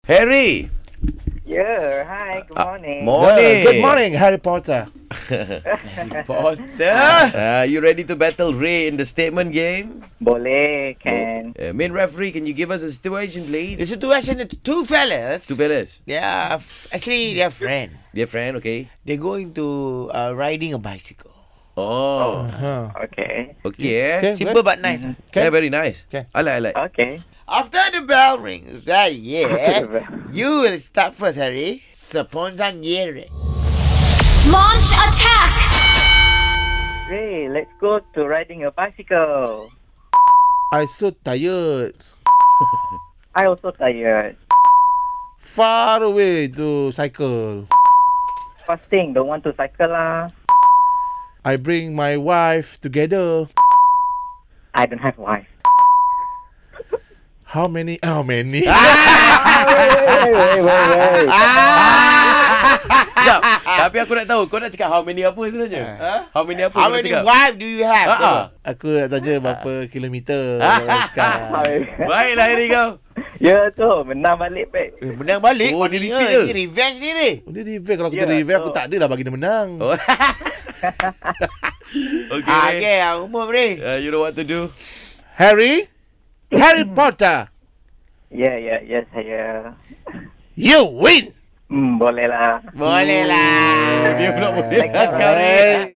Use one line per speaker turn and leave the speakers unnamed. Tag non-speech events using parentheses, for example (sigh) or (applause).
(laughs)
Harry.
Yeah, hi, good morning.
Morning.
Good morning, Harry Potter.
Potter.
Ah.
Uh, you ready to battle Ray in the statement game?
Boleh, can.
Uh, main referee, can you give us a situation,
The
please?
situation is two fellas.
Two fellas.
They are f- actually they are friend.
Dear friend, okay.
They going to uh, riding a bicycle.
Oh,
Uh-huh. Okay,
Oh.
okay. eh?
Simple but nice. ah.
Yeah, very nice.
Okay.
I like, I
(laughs)
like.
okay.
After the bell rings, that
(laughs)
(laughs) yeah,
Okay.
you will start first, Harry. Seponzan yere.
Launch attack!
Ray, let's go to riding a bicycle.
I so tired.
I also tired.
Far away to cycle.
Fasting, don't want to cycle lah.
I bring my wife together.
I don't have wife.
How many? How many?
Ah,
Sekejap. Tapi aku nak tahu, kau nak cakap how many apa sebenarnya? Ha? How many apa
Ah. How
kau nak
many
cakap?
wife do you have?
Ah, ah.
Aku nak tanya berapa kilometer orang sekarang.
Baiklah, Harry kau.
(laughs) ya tu, menang balik back.
Eh, menang balik.
Oh,
Oh,
dia
ni
repeat ke?
revenge ni ni.
Dia revive Kalau kita
Ya,
yeah, revive Aku
so-
tak adalah bagi dia menang
Oh. okay.
Ah,
Ray.
okay, ah, umur ni.
Uh, you know what to do. (laughs)
Harry Harry Potter
Ya, ya, ya, saya.
You win
Hmm, boleh lah.
Boleh lah. Oh.
Dia pula boleh
Eh.
Ah.
Thank you,
kau, Ray.
Ray.